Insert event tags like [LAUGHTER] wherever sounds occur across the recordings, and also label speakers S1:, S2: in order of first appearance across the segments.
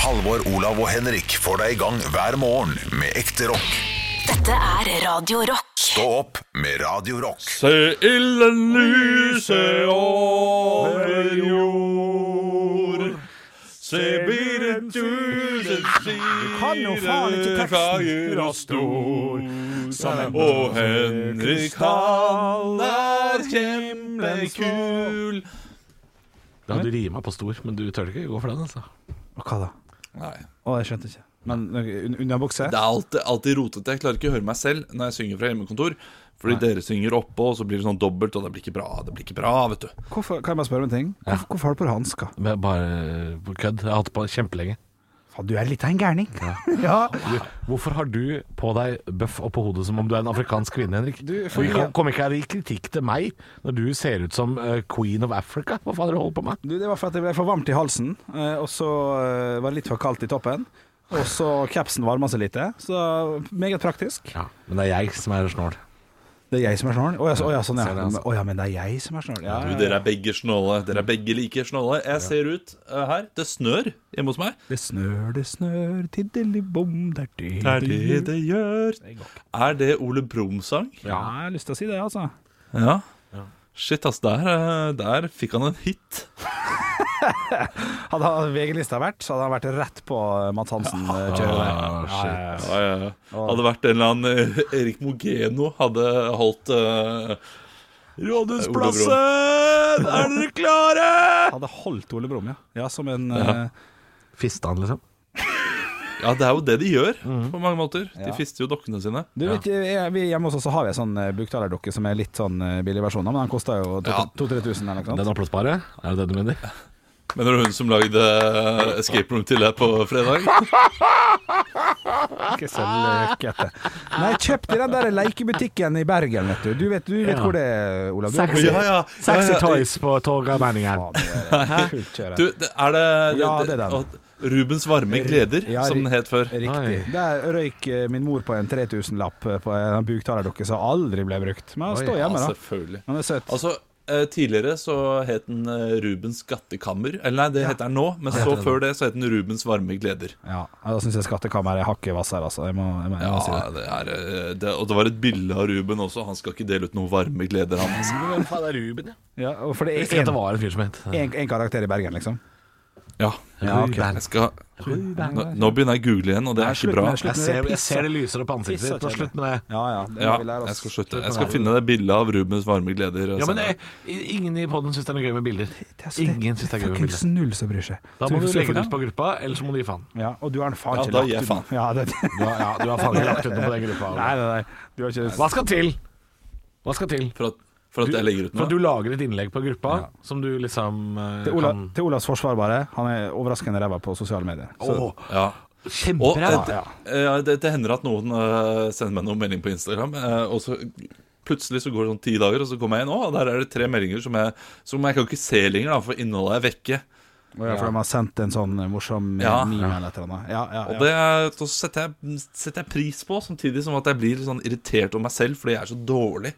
S1: Halvor, Olav og Henrik får deg i gang hver morgen med ekte rock.
S2: Dette er Radio Rock.
S1: Stå opp med Radio Rock.
S3: Se ilden lyse over jord. Se bilen tusen
S4: kan jo faen ikke
S3: sider
S4: teksten.
S3: farger og stor. Og Henrik han er kjempekul.
S5: Ja, du rima på stor, men du tør ikke gå for den, altså.
S4: Og hva da?
S3: Nei.
S4: Å, jeg skjønte ikke. Men un underbukse?
S3: Det er alltid, alltid rotete. Jeg klarer ikke å høre meg selv når jeg synger fra hjemmekontor. Fordi dere synger oppå, og så blir det sånn dobbelt, og det blir ikke bra. Det blir ikke bra, vet du.
S4: Hvorfor, kan jeg bare spørre om en ting? Hvorfor, hvorfor har du på deg hansker?
S5: Men Bare på kødd. Jeg har hatt det på kjempelenge.
S4: Faen, du er litt av en gærning. ja.
S5: Du, hvorfor har du på deg bøff oppå hodet som om du er en afrikansk kvinne, Henrik? Du, for ikke, kom ikke her i kritikk til meg når du ser ut som eh, queen of Africa. Hva faen er det du holder på med?
S4: Du, det var for at jeg ble for varmt i halsen, eh, og så eh, var det litt for kaldt i toppen. Og så kapsen varma seg litt, så meget praktisk.
S5: Ja, men det er jeg som er snål.
S4: Det er jeg som er snålen? Å ja, så- å ja, sånn ja.
S5: Ser det, altså.
S4: Å ja, men det er jeg som er snålen. Ja,
S3: Du, dere er begge snåle. Dere er begge like snåle. Jeg ser ut eh, her. Det snør hjemme hos meg.
S4: Det snør, det snør, tiddeli-bom, det er det
S3: Er det det gjør? Er det Ole Brumm-sang?
S4: Ja, jeg har lyst til å si det, altså.
S3: Ja. Shit, ass. Der, eh, der fikk han en hit.
S4: Hadde han VG-lista vært, så hadde han vært rett på eh, Mads Hansen-kjøret der.
S5: Ah, shit.
S3: Ja, ja, ja. Hadde vært en eller annen eh, Erik Mogeno hadde holdt eh, Rådhusplassen! Er dere klare?
S4: Hadde holdt Ole Brumm, ja. ja. Som en eh,
S5: Fiste han, liksom.
S3: Ja, det er jo det de gjør på mange måter. De fister jo dokkene sine.
S4: Du vet, jeg, vi Hjemme hos oss så har vi en sånn eh, buktalerdokke som er litt sånn eh, billig versjon av, men den koster jo
S3: Ja.
S4: 2000-3000 eller noe
S5: Den
S4: sånt.
S5: oppblåsbare, er det det du mener?
S3: Men det var hun som lagde eh, Escape Room til deg på fredag.
S4: Ikke så løkete. [LAUGHS] Nei, kjøp til den der lekebutikken i Bergen, vet du. Du vet, du vet
S5: Ja.
S4: hvor det er, Olav. Du har
S5: Sexy,
S3: Ja, ja. Ja,
S5: sexy
S3: ja.
S5: toys på Torgallmenningen.
S4: faen, det er kult kjøre.
S3: Du, det, er det,
S4: Ja, det er den.
S3: og Rubens varme gleder,
S4: Ja,
S3: som den het før.
S4: Riktig.
S5: Oi.
S4: Der røyk eh, min mor på en 3000-lapp eh, på en buktalerdokke som aldri ble brukt. Men den
S5: Oi,
S4: står hjemme,
S3: Ja,
S4: da.
S3: selvfølgelig.
S4: Den er søt.
S3: Altså, eh, Tidligere så het den eh, Rubens skattekammer. Eller nei, det heter den nå, men så før det så het den Rubens varme gleder.
S4: Ja, Da syns jeg skattkammeret er hakket hvass her, altså. Jeg må, jeg må, jeg
S3: Ja,
S4: må si det.
S3: det er, eh, det, Og det var et bilde av Ruben også. Han skal ikke dele ut noen varme gleder, han. altså.
S5: Hvem faen er Ruben, ja?
S4: Ja, og for det er
S5: Jeg husker
S4: én
S5: at det var en fyr som het
S4: karakter i Bergen, liksom.
S3: Ja,
S4: Ja, ok.
S3: Jeg skal, nå, nå begynner jeg å google igjen, og det er ikke bra.
S4: Slutt
S5: Jeg
S4: med
S5: ser,
S4: det
S5: jeg ser
S4: pisset.
S5: det lyser opp på ansiktet ditt. og Slutt med det.
S4: Ja, ja. Det altså. må
S3: Ja,
S4: vi lære oss.
S3: jeg skal slutte. Jeg skal finne det bildet av Rubens varme gleder. altså.
S5: Ja, men
S3: senere.
S5: eh, ingen i podden syns det er noe gøy med bilder.
S4: Altså, det-
S5: Ingen syns det er gøy med
S4: Fuckings
S5: bilder.
S4: null som bryr seg.
S5: Da
S4: Så
S5: må
S4: vi
S5: du
S4: får se
S5: legge
S4: for-
S5: det ut på gruppa, eller så må du gi faen.
S4: Ja, og du har en faen
S3: Ja, [LAUGHS]
S4: ikke
S3: da
S4: lagt
S3: gir jeg
S4: ut-
S3: faen.
S4: Ja, det,
S5: Du har, ja, du har faen ikke lagt ut noe på den gruppa. Ole.
S4: nei, nei, nei. Du har ikke
S5: Hva skal til? Hva skal til?
S3: for, at, for at jeg legger ut noe.
S5: For at du lager et innlegg på gruppa som du liksom eh,
S4: til,
S5: kan
S4: Ola, til Olavs forsvar bare, han er overraskende ræva på sosiale medier. Så,
S5: Åh,
S3: Ja. Og
S5: Kjempebra!
S3: det, ja, det, det hender at noen eh, sender meg noen melding på Instagram, eh, og så plutselig så går det sånn ti dager, og så kommer jeg inn, og der er det tre meldinger som jeg, som jeg kan ikke se lenger, da, for innholdet er vekke.
S4: og ja, for de har sendt en sånn morsom
S3: Ja.
S4: meme eller et eller annet. Ja, ja,
S3: Og
S4: ja.
S3: det er- så setter jeg, setter jeg pris på, samtidig som at jeg blir litt sånn irritert over meg selv fordi jeg er så dårlig.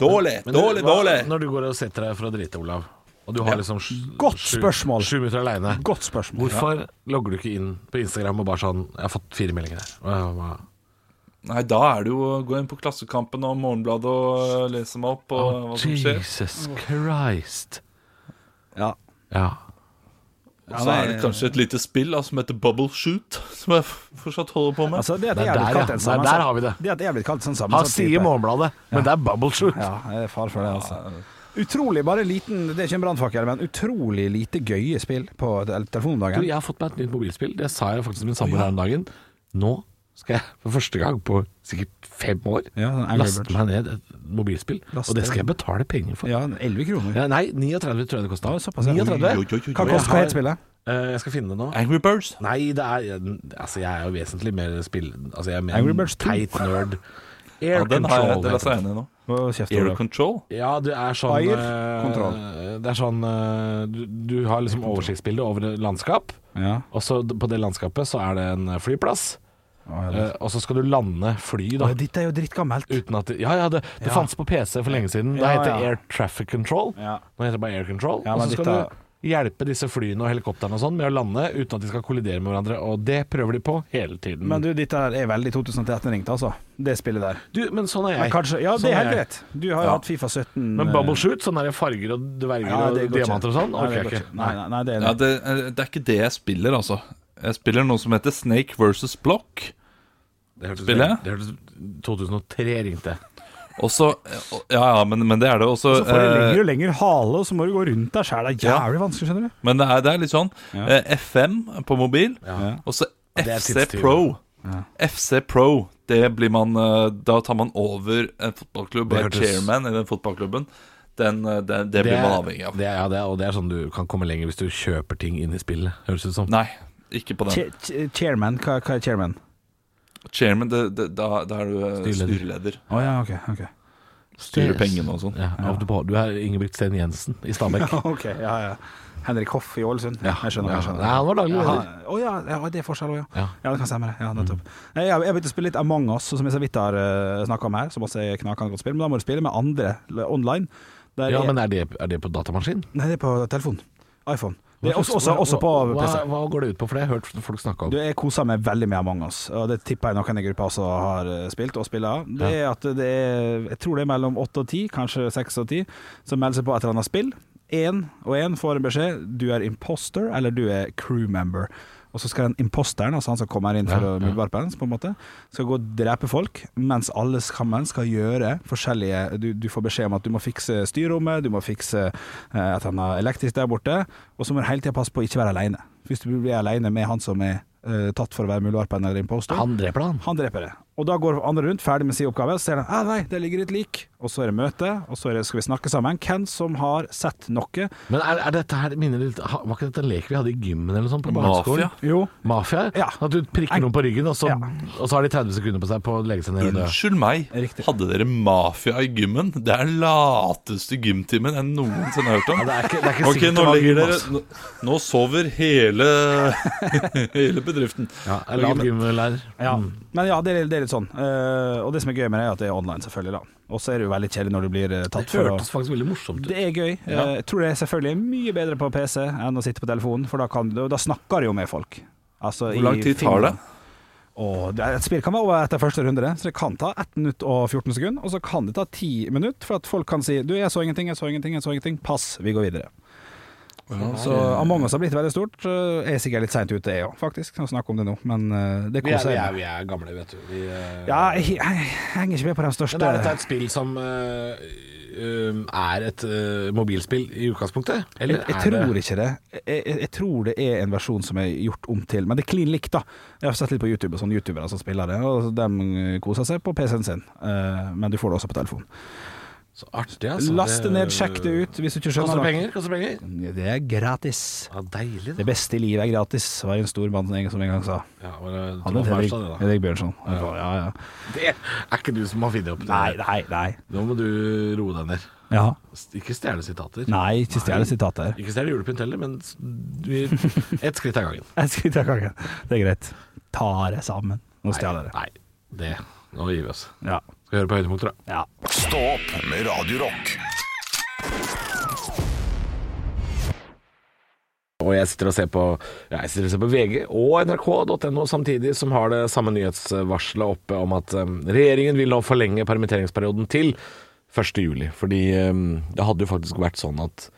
S3: Dårlig,
S5: Men du,
S3: dårlig,
S5: hva-
S3: dårlig!
S5: Når du går og setter deg for å drite, Olav, og du har liksom sj-
S4: Godt
S5: sju-
S4: spørsmål.
S5: sju minutter aleine
S4: Godt spørsmål.
S5: Hvorfor logger du ikke inn på Instagram og bare sånn 'Jeg har fått fire meldinger her'. Og jeg bare,
S3: Nei, da er det jo å gå inn på Klassekampen og Morgenbladet og eh, lese meg opp og hva som skjer.
S5: Jesus Christ.
S4: Ja.
S5: Ja.
S3: Og så er det kanskje et lite spill da, som heter Bubble Shoot, [LAUGHS] som jeg f- fortsatt holder på med.
S4: Altså, det at
S5: Det
S4: jeg
S5: er
S4: er blitt kalt
S5: der, ja.
S4: en
S5: Det er der har vi det.
S4: sammensatt- Det at jeg er blitt kalt sånn
S5: Han
S4: sammensatt
S5: sier
S4: type.
S5: Morgenbladet, men det er bubble shoot.
S4: Ja, jeg er far for det, altså. Utrolig bare liten Det er ikke en brannfakkel, men utrolig lite gøye spill på tel- telefonen om
S5: Du,
S4: dagen.
S5: jeg har fått meg et nytt mobilspill. Det sa jeg faktisk til min samboer her om dagen. Nå skal jeg for første gang på sikkert fem år
S4: Ja, sånn Angry
S5: laste
S4: Birds.
S5: meg ned et mobilspill,
S4: Laste
S5: og det skal jeg betale penger for.
S4: Ja, 11 kroner.
S5: Ja, nei, 39 tror jeg det kosta.
S4: såpass, ja.
S3: Oi, oi, oi, oi.
S4: Hva koster hva heter spillet?
S5: jeg skal finne det nå.
S3: Angry Birds.
S5: Nei, det er Altså, jeg er jo vesentlig mer spill... Altså, jeg er mer
S4: Angry
S5: en
S4: Birds 2.
S5: teit nerd. Air
S3: Ja, den har jeg, altså,
S5: Control,
S3: det
S5: heter
S3: leser jeg ned nå.
S4: Hva kjefter
S3: Air
S4: du på?
S3: Control.
S5: Ja, det er sånn
S4: Eier,
S5: eh,
S4: kontroll.
S5: Det er sånn eh, du, du har liksom oversiktsbilde over et landskap,
S4: Ja.
S5: og så d- på det landskapet så er det en eh, flyplass,
S4: Å, ja,
S5: eh, og så skal du lande fly, da.
S4: Å, Dette er jo drittgammelt.
S5: Uten at det, Ja, ja, det, det
S4: Ja.
S5: fantes på PC for lenge siden. Da
S4: Ja,
S5: het det
S4: ja.
S5: Air Traffic Control.
S4: Ja.
S5: Nå heter det bare Air Control.
S4: Ja,
S5: og
S4: men
S5: så skal
S4: dette-
S5: du hjelpe disse flyene og helikopterne og sånn med å lande uten at de skal kollidere med hverandre, og det prøver de på hele tiden.
S4: Men du, dette her er veldig 2013-ringt, altså. Det spillet der.
S5: Du, men sånn er jeg.
S4: Men kanskje, ja, det er
S5: Sånn jeg.
S4: helt greit. Du har jo hatt Fifa 17
S5: Men
S4: eh,
S5: Bubble Shoot, sånn er det farger og dverger
S4: ja, det
S5: og
S4: går ikke.
S5: diamanter og sånn?
S4: Nei, det
S5: Orker jeg
S4: går
S5: ikke.
S4: ikke. Nei, nei, nei, det er
S3: Ja, det, eh, det er ikke det jeg spiller, altså. Jeg spiller noe som heter Snake versus Block.
S5: Det hørtes,
S3: Spillet?
S5: det hørtes 2003 ringte.
S3: Og så eh, Ja, ja, men, men det er det også.
S4: Så får du
S3: eh,
S4: lenger og lenger hale, og så må du gå rundt deg sjæl. Det er
S3: Ja.
S4: jævlig vanskelig, skjønner du.
S3: Men det er, det er litt sånn
S4: Ja.
S3: eh, FM på mobil,
S5: Ja.
S3: og så
S5: det er
S3: FC
S5: tidstyver.
S3: Pro.
S4: Ja.
S3: FC Pro, det blir man eh, Da tar man over en fotballklubb og
S5: Det
S3: er
S5: hørtes-
S3: chairman i den fotballklubben. Den, eh, det, det blir
S5: er-
S3: man avhengig av.
S5: Det er, ja, det er, og det er sånn du kan komme lenger hvis du kjøper ting inn i spillet, høres det ut som.
S3: Nei, ikke på den.
S4: Che- che- Chairman, hva, hva er chairman?
S3: Chairman, det, det, da, da er du eh,
S5: Styreleder.
S3: styreleder.
S4: Å ja, ok. ok.
S3: Styrer pengene og sånn.
S5: Ja, av og på. Du er Ingebrigtsen Jensen i Stabekk.
S4: [LAUGHS] Ok, ja, ja. Henrik Hoff i Ålesund. jeg skjønner.
S5: Ja,
S4: Jeg skjønner.
S5: Nei, han var daglig
S4: Ja,
S5: leder.
S4: å ja, ja, det er forskjell òg, ja.
S5: Ja. Mm.
S4: ja. det kan stemme. det. Ja, nettopp. Nei, Jeg jeg begynte å spille litt Among us, som jeg så vidt har uh, snakka om her. Som også er knakende godt spill, men da må du spille med andre l- online. Der
S5: Ja,
S4: er-
S5: men er det, er det på datamaskin?
S4: Nei, det er på telefon. iPhone. Det er
S5: Hva
S4: også,
S5: slags-
S4: også, også på
S5: hva,
S4: PC.
S5: hva, hva går det ut på? For det har jeg hørt folk snakke om.
S4: Du, jeg koser meg veldig med Among us, og det tipper jeg noen i gruppa også har eh, spilt og spiller. Det er at det er Jeg tror det er mellom åtte og ti, kanskje seks og ti, som melder seg på et eller annet spill. Én og én får en beskjed du er imposter eller du er crew member. Og så skal den imposteren, altså han som kommer inn for
S5: Ja,
S4: å
S5: ja.
S4: muldvarpens, på en måte, skal gå og drepe folk, mens alle sammen skal gjøre forskjellige du, du får beskjed om at du må fikse styrrommet, du må fikse eh, et eller annet elektrisk der borte, og så må du hele tida passe på å ikke være aleine. Hvis du blir aleine med han som er eh, tatt for å være muldvarpen eller imposter, han,
S5: Han dreper deg, han.
S4: dreper det. Og da går andre rundt, ferdig med sin oppgave, så ser de ah, nei, der ligger et lik, og så er det møte, og så er det, skal vi snakke sammen. Hvem som har sett noe?
S5: Men er, er dette her minner litt ha- Var ikke dette en lek vi hadde i gymmen eller noe sånt på barneskolen?
S3: Mafia.
S4: Jo,
S5: Mafia?
S4: Ja.
S5: At du prikker noen på ryggen, og så,
S4: Ja.
S5: og så har de 30 sekunder på seg på å legge seg ned og dø.
S3: Unnskyld meg,
S4: Riktig.
S3: hadde dere mafia i gymmen? Det er den lateste gymtimen jeg noensinne har hørt om.
S5: Ja, det er ikke, det er ikke
S3: Ok,
S5: sikkert
S3: nå
S5: det var
S3: ligger
S5: gym,
S3: dere
S5: altså.
S3: Nå, nå sover hele [LAUGHS] Hele bedriften.
S5: Ja, jeg la gymlærer.
S4: Ja,
S5: Mm.
S4: men ja, det er, det er litt sånn. Eh, og det som er gøy med det, er at det er online, selvfølgelig. da Og så er det jo veldig kjedelig når du blir eh, tatt
S5: Det
S4: for å
S5: hørtes faktisk veldig morsomt ut.
S4: Det er gøy. Eh, Jeg tror det er selvfølgelig mye bedre på PC enn å sitte på telefonen, for da, kan, du- da snakker du jo med folk. Altså,
S3: Hvor lang
S4: i
S3: tid tar det?
S4: Finland. Og det er- et spill kan være over etter første runde, så det kan ta 1 minutt og 14 sekunder. Og så kan det ta 10 minutter, for at folk kan si 'du, jeg så ingenting, jeg så ingenting', jeg så ingenting. Pass, vi går videre. Så Among us har blitt veldig stort. Eh, Jeg er sikkert litt seint ute, jeg òg, faktisk, å snakke om det nå, men eh, det koser jeg meg.
S5: gamle, vet du. eh,
S4: Ja, jeg, jeg, henger ikke med på de største
S5: Men er dette et spill som øh, øh, er et øh, mobilspill i utgangspunktet? Eller
S4: jeg, jeg
S5: er
S4: tror
S5: det
S4: ikke det. Jeg, jeg, jeg tror det er en versjon som er gjort om til, men det er klin likt, da. Jeg har sett litt på YouTube og sånne youtubere som spiller det, og de koser seg på PC-en sin. Eh, men du får det også på telefon.
S5: så artig, altså?
S4: Last det ned, sjekk det ut hvis du ikke skjønner
S5: Koster det penger? Koster det penger?
S4: penger? Det er gratis.
S5: Ja, deilig,
S4: Det
S5: da.
S4: beste i livet er gratis, var en stor mann som en gang sa.
S5: Ja, eh, var det,
S4: Han het
S5: Trond
S4: Henrik,
S5: Farstad, det,
S4: Henrik Bjørnson. Ja, ja, ja.
S5: da. sånn, det er ikke du som har funnet opp det.
S4: Nei, nei, nei.
S5: Nå må du roe deg ned.
S4: Ja.
S5: Ikke stjele sitater.
S4: Nei, ikke stjel sitatet her. [LAUGHS]
S5: Ikke stjele julepynt heller, men s- vi, ett skritt av gangen.
S4: Jeg skal ta gangen. Det er greit. Ta det sammen. Nå stjal jeg det.
S5: Nei, det Nå gir vi oss.
S4: Ja.
S5: Skal vi høre på høydepunkter,
S4: ja.
S5: da.
S1: Stå opp med Radio Rock.
S5: Og jeg sitter og ser på, ja, jeg sitter og ser på VG og nrk.no samtidig, som har det samme nyhetsvarselet oppe om at eh, regjeringen vil nå forlenge permitteringsperioden til 1. juli. Fordi eh, det hadde jo faktisk vært sånn at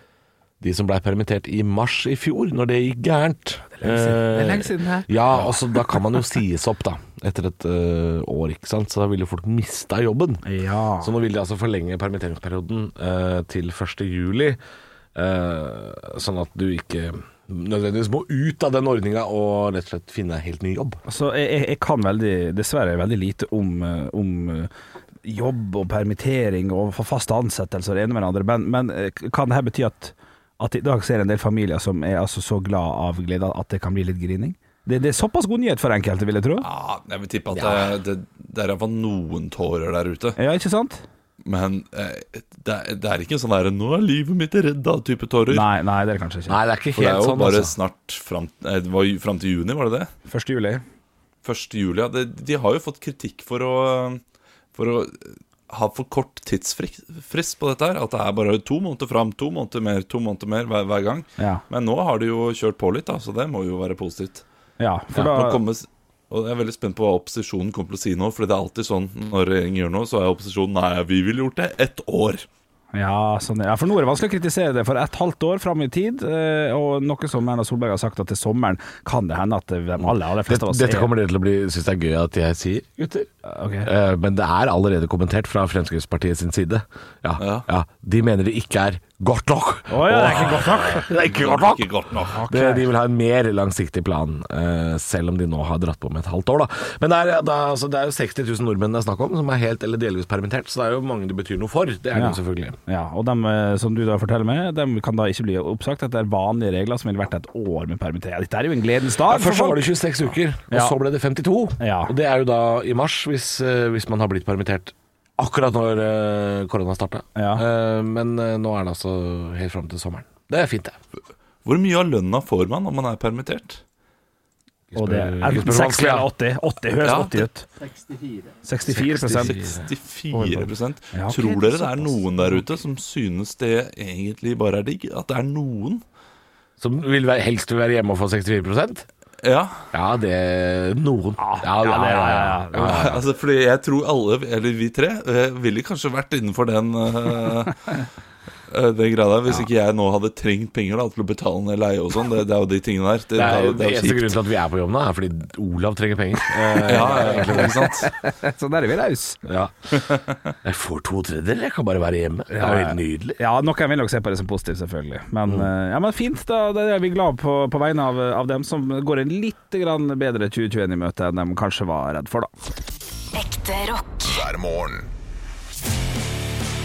S5: de som blei permittert i mars i fjor, når det gikk gærent Det er lenge siden her. Ja, altså da kan man jo sies opp, da. Etter et eh, år, ikke sant. Så da ville jo folk mista jobben.
S4: Ja.
S5: Så nå vil de altså forlenge permitteringsperioden eh, til 1. juli, eh, sånn at du ikke nødvendigvis må ut av den ordninga og rett og slett finne helt ny jobb.
S4: Altså, jeg, jeg, jeg kan veldig, dessverre veldig lite om, eh, om eh, jobb og permittering og for faste ansettelser og det ene med det andre, men, men eh, kan det her bety at, at i dag ser jeg en del familier som er altså så glad av glede at det kan bli litt grining? Det, det er såpass god nyhet for enkelte, vil jeg tro.
S3: Ja, jeg vil tippe at eh, det, det, det er iallfall noen tårer der ute.
S4: Ja, ikke sant?
S3: Men eh, det, er- det er ikke sånn der 'nå er livet mitt redda'-type tårer.
S4: Nei, nei, det er det kanskje ikke.
S5: Nei, det er ikke
S3: For det er
S5: helt
S3: jo
S5: sånn,
S3: bare
S5: altså.
S3: snart fram, eh, det var jo fram til juni, var det det?
S4: 1. juli.
S3: 1. juli. Ja. De, de har jo fått kritikk for å, for å har for kort tidsfrist på dette her. At det er bare to måneder fram, to måneder mer, to måneder mer hver, hver gang.
S4: Ja.
S3: Men nå har de jo kjørt på litt, da, så det må jo være positivt.
S4: Ja, for
S3: Nå
S4: da
S3: kommer, og Jeg er veldig spent på hva opposisjonen kommer til å si nå. Fordi det er alltid sånn når regjeringen gjør noe, så er opposisjonen Nei, vi ville gjort det ett år.
S4: ja, sånn, ja, for nå er det vanskelig å kritisere det. For et halvt år fram i tid, eh, og noe som Erna Solberg har sagt at til sommeren kan det hende at eh, de aller, aller fleste av oss
S5: Dette
S4: er-
S5: kommer dere til å bli synes det er gøy at jeg sier, gutter.
S4: Ok.
S5: Eh, Men det er allerede kommentert fra Fremskrittspartiet sin side. Ja, ja.
S3: Ja.
S5: De mener det ikke er godt nok.
S4: Å ja, det er ikke godt nok.
S5: Det er ikke godt nok.
S3: Ikke godt nok.
S5: Det, de vil ha en mer langsiktig plan, eh, selv om de nå har dratt på med et halvt år. Da. Men det er, det, er, altså, det er jo 60 000 nordmenn det er snakk om, som er helt eller delvis permittert. Så det er jo mange det betyr noe for. Det er det
S4: Ja.
S5: jo selvfølgelig.
S4: Ja, og dem eh, som du da forteller meg, dem kan da ikke bli oppsagt etter vanlige regler som ville vært et år med permittering. Dette er jo en gledens dag.
S5: Først så
S4: folk.
S5: var det 26 uker, og
S4: Ja.
S5: så ble det 52.
S4: Ja.
S5: Og det er jo da i mars, hvis, eh, hvis man har blitt permittert akkurat når eh, korona starta.
S4: Ja.
S5: Eh, men eh, nå er det altså helt fram til sommeren. Det er fint, det.
S3: Hvor mye av lønna får man når man er permittert?
S4: Og det er
S5: Ikke spør
S4: 60
S5: vanskelig, ja.
S4: eller 80. 80 høres
S3: Ja.
S4: 80 ut. 64 prosent.
S3: 64
S4: Ja, ok,
S3: Tror dere det er noen der ute som synes det egentlig bare er digg? At det er noen?
S5: Som vil være, helst vil være hjemme og få 64
S3: Ja.
S5: Ja, det Noen. Ja,
S4: ja, det- ja, ja, ja.
S3: [LAUGHS] altså, fordi jeg tror alle, eller vi tre, eh, ville kanskje vært innenfor den eh, [LAUGHS] eh, Den greia der, Hvis ikke jeg nå hadde trengt penger da, til å betale ned leie og sånn. Det, det er jo de tingene der. Det,
S5: Det er,
S3: det er jo
S5: eneste
S3: kjipt.
S5: grunnen til at vi er på jobb nå, er fordi Olav trenger
S4: [LAUGHS]
S5: penger. Eh,
S3: Ja, ja, ja, ikke sant?
S4: Så der er vi raus
S5: ja. Jeg får to tredjedeler, jeg kan bare være hjemme. Det er jo helt nydelig.
S4: Ja, noen vil nok se på det som positivt, selvfølgelig. Men, eh, ja, men fint, da, da er vi glad på, på vegne av, av dem som går en litt grann bedre 2021 i møte enn de kanskje var redd for, da.
S2: Ekte rock.
S1: hver morgen.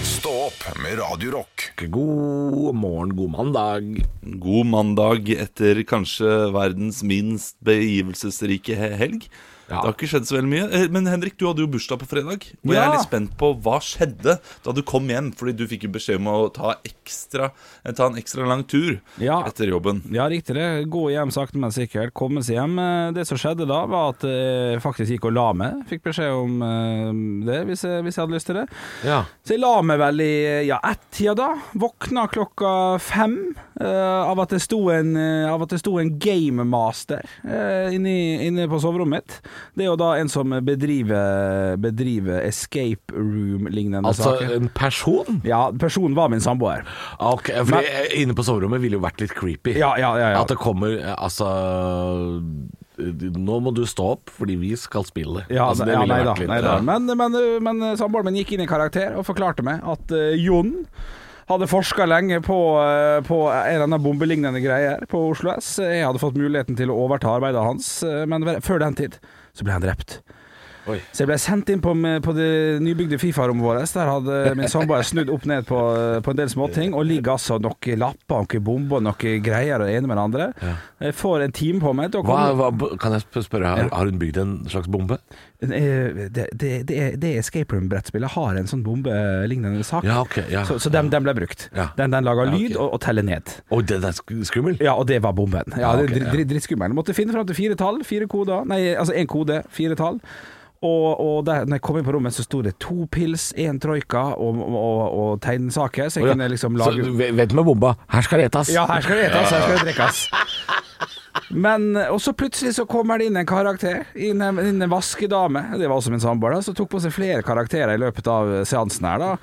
S1: Stå opp med Radio Rock.
S5: God morgen, god mandag.
S3: God mandag etter kanskje verdens minst begivelsesrike he- helg.
S5: Ja.
S3: Det har ikke skjedd så veldig mye. Eh, Men Henrik, du hadde jo bursdag på fredag. Og jeg
S4: Ja.
S3: er litt spent på hva skjedde da du kom hjem. Fordi du fikk jo beskjed om å ta, ekstra, eh, ta en ekstra lang tur
S4: Ja.
S3: etter jobben.
S4: Ja, riktig det. Gå hjem sakte, men sikkert. Komme seg hjem. Eh, Det som skjedde da, var at eh, jeg faktisk gikk og la meg. Fikk beskjed om eh, det, hvis jeg, hvis jeg hadde lyst til det.
S5: Ja.
S4: Så jeg la meg vel i ja, ett-tida da. Våkna klokka fem eh, av at det sto en, eh, av at det sto en gamemaster eh, inne, i- inne på soverommet mitt. Det er jo da en som bedriver, bedriver escape room-lignende
S5: Altså,
S4: saker.
S5: en person
S4: Ja, personen var min samboer.
S5: Ok, fordi eh, Inne på soverommet ville jo vært litt creepy.
S4: Ja, ja, ja, ja.
S5: At det kommer eh, Altså Nå må du stå opp, fordi vi skal spille.
S4: Ja,
S5: altså,
S4: ja
S5: ville
S4: nei da.
S5: vært litt-
S4: Nei da.
S5: ja.
S4: Men, men, men eh, samboeren min gikk inn i karakter og forklarte meg at eh, Jon hadde forska lenge på, eh, på en eller annen bombelignende greie her på Oslo S. Jeg hadde fått muligheten til å overta arbeidet hans, eh, men ver- før den tid så ble han drept.
S5: Oi.
S4: Så jeg ble sendt inn på, på det nybygde Fifa-rommet vårt. Der hadde min samboer snudd opp ned på, eh, på en del småting, og ligger altså noen lapper, noen bomber og noen greier og det ene med det andre. Jeg får en time på meg til å
S5: Hva,
S4: komme
S5: hva, kan jeg sp- spørre, har, har hun bygd en slags bombe?
S4: Eh, Det, det, det, er- det escape room-brettspillet har en sånn bombelignende sak.
S5: Ja, ok. Ja.
S4: Så, så den, den ble brukt.
S5: Ja.
S4: Den, den laga
S5: Ja, ok.
S4: lyd og, og teller ned.
S5: Oi, den er sk- skummel.
S4: Ja, og det var bomben. Ja,
S5: Ja,
S4: det er
S5: ok,
S4: dri- dri- Drittskummel. Måtte finne fram til fire tall, fire koder. Nei, altså én kode, fire tall. Og, og der, når jeg kom inn på rommet, så sto det to pils, én troika og, og, og tegnsaker. Så
S5: Å,
S4: jeg
S5: ja.
S4: kunne liksom
S5: Så
S4: lage
S5: du vet- vet med bomba. Her skal det etas.
S4: Ja, her skal det etes, her skal det drikkes. Men, eh, og så plutselig så kommer det inn en karakter, inn en, inn en vaskedame, det var også min samboer, da, som tok på seg flere karakterer i løpet av eh, seansen her, da.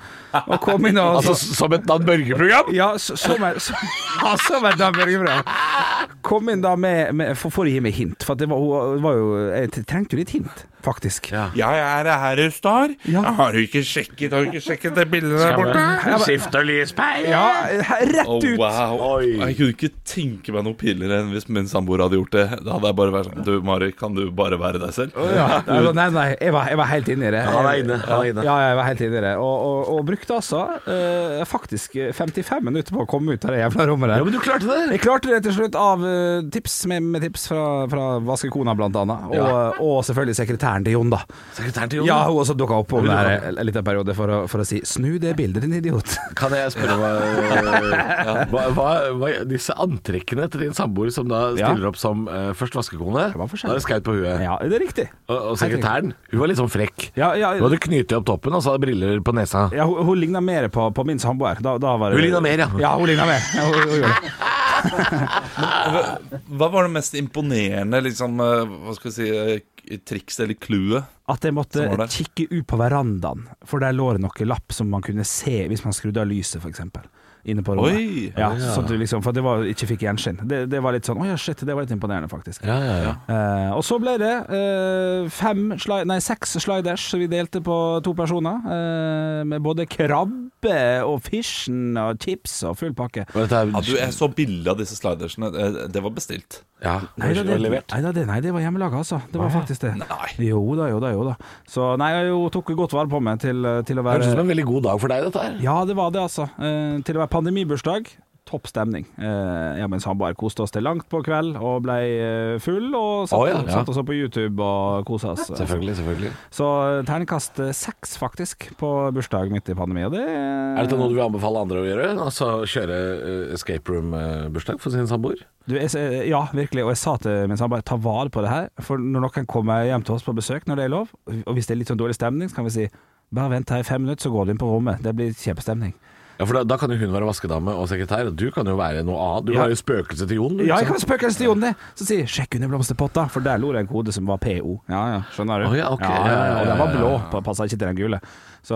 S4: Og kom inn og
S5: Altså som et Dan Børge-program?
S4: ja, så- som er, som, [LAUGHS] ja, som er Dan Børge Brød. Kom inn da med, med for, for å gi meg hint, for at det var, hun var jo, jeg trengte jo litt hint, faktisk.
S5: Ja.
S3: Jeg er her, Star.
S4: Ja.
S3: Jeg har jo ikke sjekket, har jo ikke sjekket det bildet der borte.
S5: Skift og lyspære.
S4: Ja, rett
S3: Oh,
S4: ut!
S3: wow.
S5: Oi.
S3: Jeg kunne ikke tenke meg noe pillere enn hvis min samboer hadde gjort det. Da hadde jeg bare vært sånn Du, Mari, kan du bare være deg selv?
S4: Ja, sånn, nei, nei, jeg var, jeg var helt inne i det.
S5: Han er inne. Han er inne.
S4: Ja, jeg var helt inne i det. Og, og, og brukte altså eh, faktisk 55 minutter på å komme ut av det jævla rommet der.
S5: men du klarte det.
S4: Jeg klarte det til slutt av eh, tips med, med tips fra, fra vaskekona, blant annet. Og, eh,
S5: Ja.
S4: og selvfølgelig sekretæren til Jon, da.
S5: Sekretæren til Jon.
S4: Ja, hun også dukka opp om
S5: Hun
S4: det her
S5: dukket
S4: en liten periode for å, for å si 'snu det bildet, din idiot'.
S5: Kan jeg [LAUGHS] spørre hva, hva, hva, hva Disse antrekkene til din samboer som da
S4: Ja.
S5: stiller ender opp som eh, først vaskekone,
S4: var for
S5: da er det skaut på huet.
S4: [LAUGHS] Ja, det er riktig.
S5: Og, og sekretæren, hun var litt sånn frekk.
S4: Ja, ja,
S5: Hun hadde knyttet opp toppen og så hadde briller på nesa.
S4: ja, hun, hun ligna mer på, på min samboer. Da, da var det-
S5: Hun lignet mer, ja.
S4: Ja, hun ligna mer. Ja, hun, hun gjorde det.
S3: Hva var det mest imponerende liksom, eh, hva skal vi si, eh, trikset eller clouet?
S4: At jeg måtte
S3: Sånn var det.
S4: kikke ut på verandaen, for der lå det noe lapp som man kunne se hvis man skrudde av lyset, f.eks. Inne på rommet.
S3: Oi!
S4: ja, Sånn at du liksom, for det var, ikke fikk gjenskinn. Det, det var litt sånn Å ja, shit, det var litt imponerende, faktisk.
S5: Ja, ja, ja.
S4: Eh, og så ble det eh, fem sli- nei, seks sliders som vi delte på to personer. eh, med både krabbe og fishen og chips og full pakke.
S5: Og dette er,
S3: Ja, du, jeg så bilde av disse slidersene. Eh, Det var bestilt.
S5: ja,
S4: Nei da, det,
S5: og levert.
S4: nei, da, det, nei, det var hjemmelaga, altså. Det var faktisk det.
S3: Nei.
S4: Jo da, jo da, jo da. Så nei, jeg jo tok godt vare på meg til, til å
S5: Det høres ut
S4: være
S5: som en veldig god dag for deg, dette her.
S4: Ja, det var det, altså. Eh, til å være pandemibursdag. Topp stemning. Eh, jeg og min samboer koste oss til langt på kveld og ble eh, full, og satt,
S5: Å, ja, ja.
S4: satt oss opp på YouTube og kosa oss.
S5: Selvfølgelig, selvfølgelig.
S4: Så eh, terningkast eh, seks, faktisk, på bursdag midt i pandemi, og det
S5: Er dette noe du vil anbefale andre å gjøre? Altså kjøre eh, escape room-bursdag for sin samboer?
S4: Du, jeg, s- ja, virkelig. Og jeg sa til min samboer ta vare på det her. For når noen kommer hjem til oss på besøk, når det er lov, og hvis det er litt sånn dårlig stemning, så kan vi si bare vent her i fem minutter, så går du inn på rommet. Det blir kjempestemning.
S5: Ja, for da, da kan jo hun være vaskedame og sekretær, og du kan jo være noe annet. Du
S4: Ja.
S5: har jo spøkelset til Jon. du,
S4: Ja, jeg
S5: ikke
S4: kan
S5: sant?
S4: spøkelse til Jon, det. Så sier jeg, 'sjekk under blomsterpotta', for der lå det en kode som var PO. Ja, ja, skjønner du.
S5: Å, ja, ok.
S4: ja, ja, ja, og den var
S5: Ja, ja,
S4: blå,
S5: ja,
S4: pa- passa ikke til den gule. Så,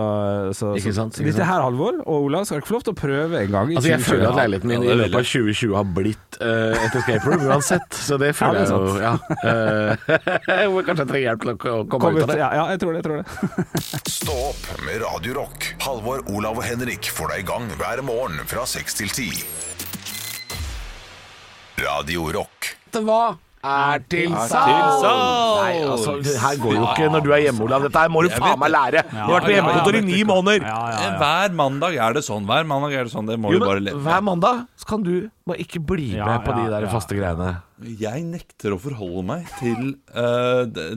S4: så, så
S5: Ikke sant, ikke
S4: Dette
S5: sant.
S4: her, Halvor og Olav, skal dere få lov til å prøve en gang. i
S5: Altså, jeg
S4: 2020.
S5: føler at leiligheten min
S3: Ja, det
S5: i
S3: er
S5: løpet av 2020 har blitt eh, et escape room uansett, så det
S4: Ja,
S5: føler
S4: det er
S5: jeg jo. Ja. Eh, [LAUGHS] hvor kanskje jeg trenger hjelp til å k- å komme
S4: Kom
S5: ut av
S4: ut.
S5: det.
S4: Ja, ja, jeg tror det. Jeg tror det.
S5: [LAUGHS]
S1: Stå opp med Radio Rock. Halvor, Olav og Henrik får deg i gang hver morgen fra 6 til 10. Radio Rock.
S5: Hva er til salg? Nei, altså, det her går jo ikke når du er hjemme, Olav. Dette her må du
S3: Jeg
S5: faen
S3: vet
S5: meg lære. Du har vært på
S3: ja, ja,
S5: hjemmekontor i
S3: vet
S5: ni måneder.
S3: Eh, Hver mandag er det sånn. Hver mandag er det sånn. Det må
S5: Jo,
S3: vi bare
S5: men
S3: leve med.
S5: hver mandag så kan du bare ikke bli
S4: Ja,
S5: med på de
S4: ja,
S5: der
S4: ja.
S5: faste greiene.
S3: Jeg nekter å forholde meg til eh, d-